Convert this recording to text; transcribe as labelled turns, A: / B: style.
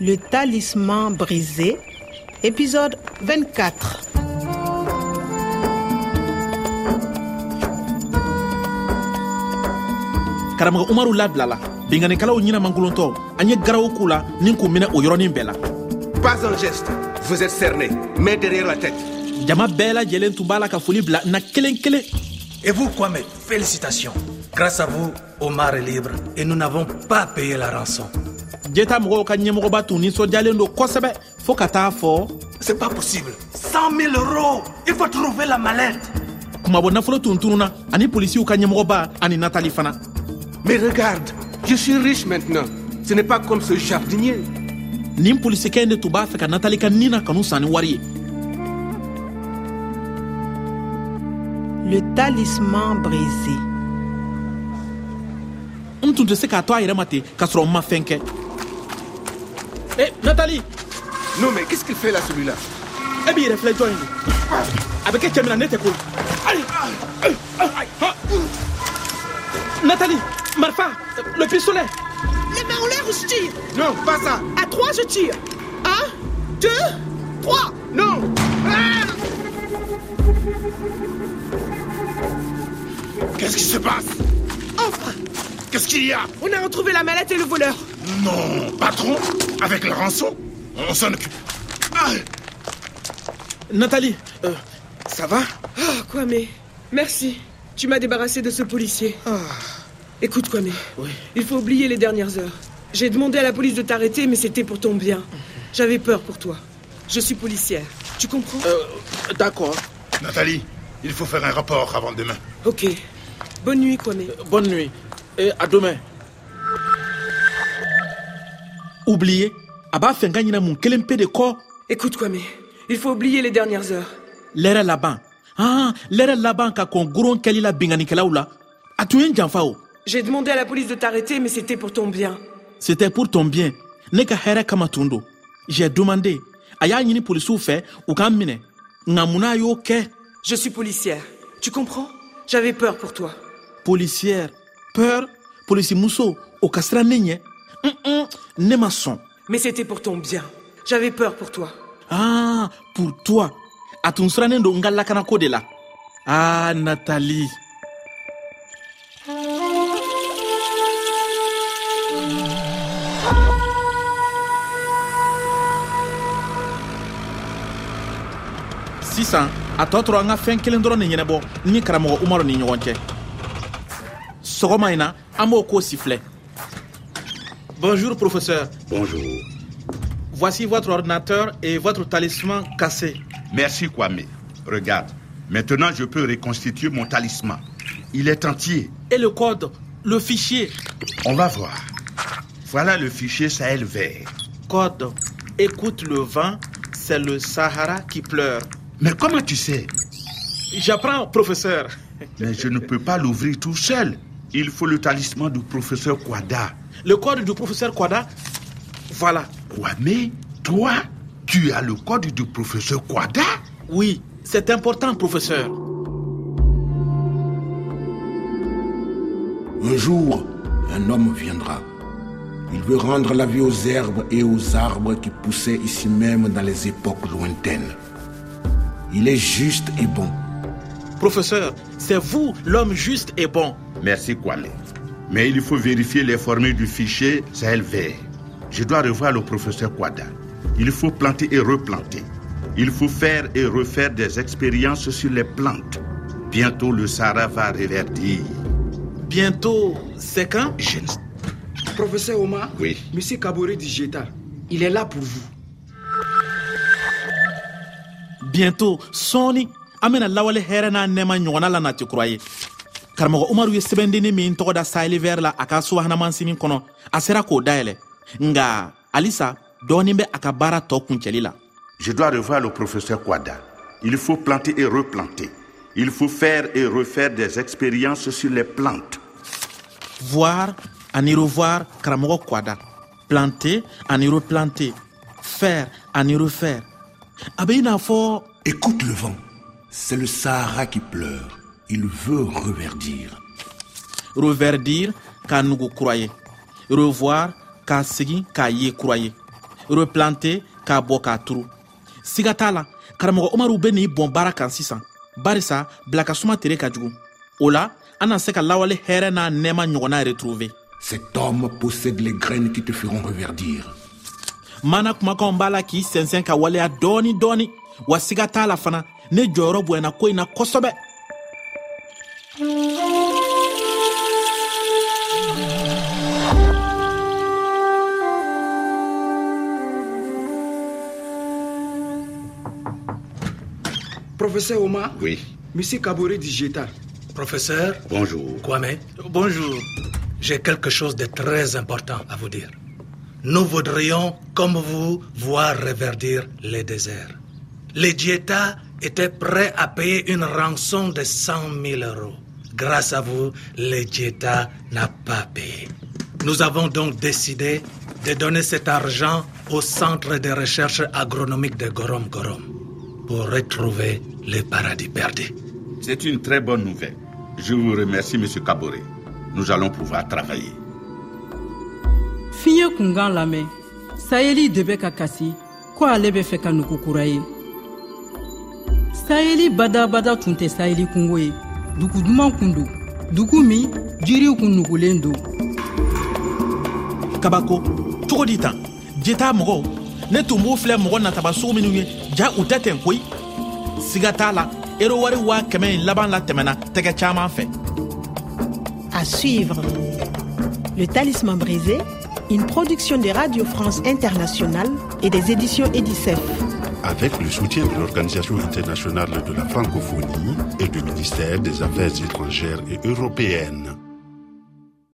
A: Le talisman brisé, épisode 24.
B: karamɔgɔ umaru labilala binganikɛlaw ɲina mankulontɔ an ye garaw k'u la ni k'u minɛ o yɔrɔnin bɛɛ la
C: Pas un geste. Vous êtes cerné, main derrière la tête.
B: jama bɛɛ lajɛlen tun b'a la ka foli bila na kelen kelen
D: Et vous, Kwame, félicitations. Grâce à vous, Omar est libre et nous n'avons pas payé la rançon.
B: jeta mɔgɔw ka ɲɛmɔgɔba tun ninsɔndiyalen don kosɛbɛ fɔɔ ka taa fɔ
D: C'est pas possible. 100 000 euros Il faut trouver la mallette
B: kumabɔ nafolo tun tununa ani polisiw ka ɲɛmɔgɔba ani natali fana
C: Mais regarde, je suis riche maintenant. Ce n'est pas comme ce jardinier.
B: nin polisikɛ in de tun b'a fɛ ka natali ka nin na kanu san ni wari ye
A: Le talisman brisé.
B: n tun tɛ se k'a to a yɛrɛ ma ten k'a sɔrɔ n ma fɛn kɛ e natali
C: Non, mais qu'est-ce qu'il fait là, celui-là
B: e b'i yɛrɛ filɛ jɔn ye de a bɛ kɛ cɛ min na ne tɛ ko Ayi, ayi, ayi, ha. natali marifa le pistolet
E: Les mains en l'air ou je tire
C: Non, pas ça.
E: À trois, je tire. Un, deux, trois.
C: Non
F: Qu'est-ce qui se passe
E: Enfin,
F: Qu'est-ce qu'il y a
E: on Ah, a retrouvé la mallette et le voleur.
F: Non, patron, avec la rançon, on s'en occupe. Ah,
B: natali euh,
C: Ça va
E: Oh, Kwame, merci. Tu m'as débarrassé de ce policier. Écoute, Kwame, il faut oublier les dernières heures. J'ai demandé à la police de t'arrêter, mais c'était pour ton bien. J'avais peur pour toi. Je suis policière. Tu comprends
B: euh, d'accord
F: Nathalie, il faut faire un rapport avant demain.
E: Ok. Bonne nuit, Kwame.
B: bonne nuit et à demain oublié a b'a fɛ n ka ɲinɛ mun kelen pe de kɔ
E: Écoute, Kwame, il faut oublier les dernières heures.
B: lɛrɛ laban an lɛrɛ laban ka kɔn goron kɛli la binganikɛlaw la a tun ye n janfa o
E: J'ai demandé à la police de t'arrêter, mais c'était pour ton bien.
B: c'était pour ton bien ne ka hɛrɛ kama tun don j'ai demandé a y'a ɲini polisiw fɛ u k'an minɛ nka munna a y'o kɛ
E: Je suis policière. Tu comprends J'avais peur pour toi.
B: policière peur polisimuso o ka siran ne ɲɛ un ne ma sɔn
E: Mais c'était pour ton bien. J'avais peur pour toi.
B: ah pour toi a tun sirannen don n ka lakanako de la ah nathalie sisan a tɔ tora an ka fɛn kelen dɔrɔn ni ɲɛnɛbɔ ni karamɔgɔ umaru ni ɲɔgɔn cɛ sɔgɔma in na an b'o ko si filɛ bonjour professeur
G: Bonjour.
B: voici votre ordinateur et votre talisman cassé
G: Merci, Kwame. Regarde, maintenant je peux reconstituer mon talisman. Il est entier.
B: et le code, le fichier,
G: On va voir. Voilà le fichier Sahel vert.
B: code, écoute le vent, c'est le Sahara qui pleure.
G: Mais comment tu sais
B: J'apprends, professeur.
G: Mais je ne peux pas l'ouvrir tout seul. Il faut le talisman du professeur Kwada.
B: Le code du professeur Kwada, voilà.
G: Kwame, toi, tu as le code du professeur Kwada
B: Oui, c'est important, professeur.
H: Un jour, un homme viendra. Il veut rendre la vie aux herbes et aux arbres qui poussaient ici même dans les époques lointaines. Il est juste et bon.
B: Professeur, c'est vous l'homme juste et bon.
G: Merci, Kwame. Mais il faut vérifier les formules du fichier Sahel vert. Je dois revoir le professeur Kwada. Il faut planter et replanter. Il faut faire et refaire des expériences sur les plantes. Bientôt, le Sahara va reverdir.
B: Bientôt, c'est quand
G: Je ne-
I: Professeur Omar,
G: Oui.
I: Monsieur Kabore du Jeta, il est là pour vous.
B: bientôt sɔɔni an bena lawale hɛrɛ n'a nɛɛma ɲɔgɔnna la nati kura ye karamɔgɔ umaru ye sɛbɛndennin min tɔgɔ da saheli vɛr la a ka subahanamansinin kɔnɔ a sera k'o dayɛlɛ nga halisa dɔɔnin bɛ a ka baara tɔ kuncɛli la
G: Je dois revoir le professeur Kwada. Il faut planter et replanter. Il faut faire et refaire des expériences sur les plantes.
B: voir ani revoir karamɔgɔ kwada planter ani replanter faire ani refaire a be i n'a fɔ
H: Écoute le vent. C'est le Sahara qui pleure. Il veut reverdir.
B: reverdir k'a nugu kura ye revoir k'a segin k'a ye kura ye replanter k'a bɔ k'a turu siga t'a la karamɔgɔ umaru be n'i bɔn baara kan sisan barisa bilakasuma tere ka jugu o la an na se ka lawale hɛɛrɛ n'a nɛɛma ɲɔgɔnna retrouve
H: Cet homme possède les graines qui te feront reverdir.
B: mana kumakanw b'a la k'i sɛnsɛn ka waleya dɔɔni dɔɔni wa siga t'a la fana ne jɔyɔrɔ bonyana ko in na kosɛbɛ
I: Professeur Oma,
F: Oui,
I: Monsieur Kabore dit Jeta.
D: Professeur
F: bonjour.
D: Kwame,
B: bonjour
D: j'ai quelque chose de très important à vous dire. Nous voudrions, comme vous, voir reverdir les déserts. Les Dieta étaient prêts à payer une rançon de 100 000 euros. Grâce à vous, les Dieta n'a pas payé. Nous avons donc décidé de donner cet argent au Centre de recherche agronomique de Gorom Gorom pour retrouver le paradis perdu.
G: C'est une très bonne nouvelle. Je vous remercie, Monsieur Kabore. Nous allons pouvoir travailler.
J: fiɲɛ kunkan lamɛn sayeli de bɛ ka kasi ko ale bɛ fɛ ka nugu kura ye sayeli badabada tun tɛ sayeli kungo ye dugu duman kun don dugu min jiriw kun nugulen don
B: kabako cogo di tan jeta mɔgɔw ne tun b'u filɛ mɔgɔ nataba sugu minnu ye ja u tɛ ten koyi siga t'a la ero wari waa kɛmɛ in laban la tɛmɛna tɛgɛ caaman fɛ
A: À suivre. Le Talisman brisé, une production de Radio France Internationale et des éditions Edicef.
K: avec le soutien de l'Organisation internationale de la francophonie et du ministère des Affaires étrangères et européennes.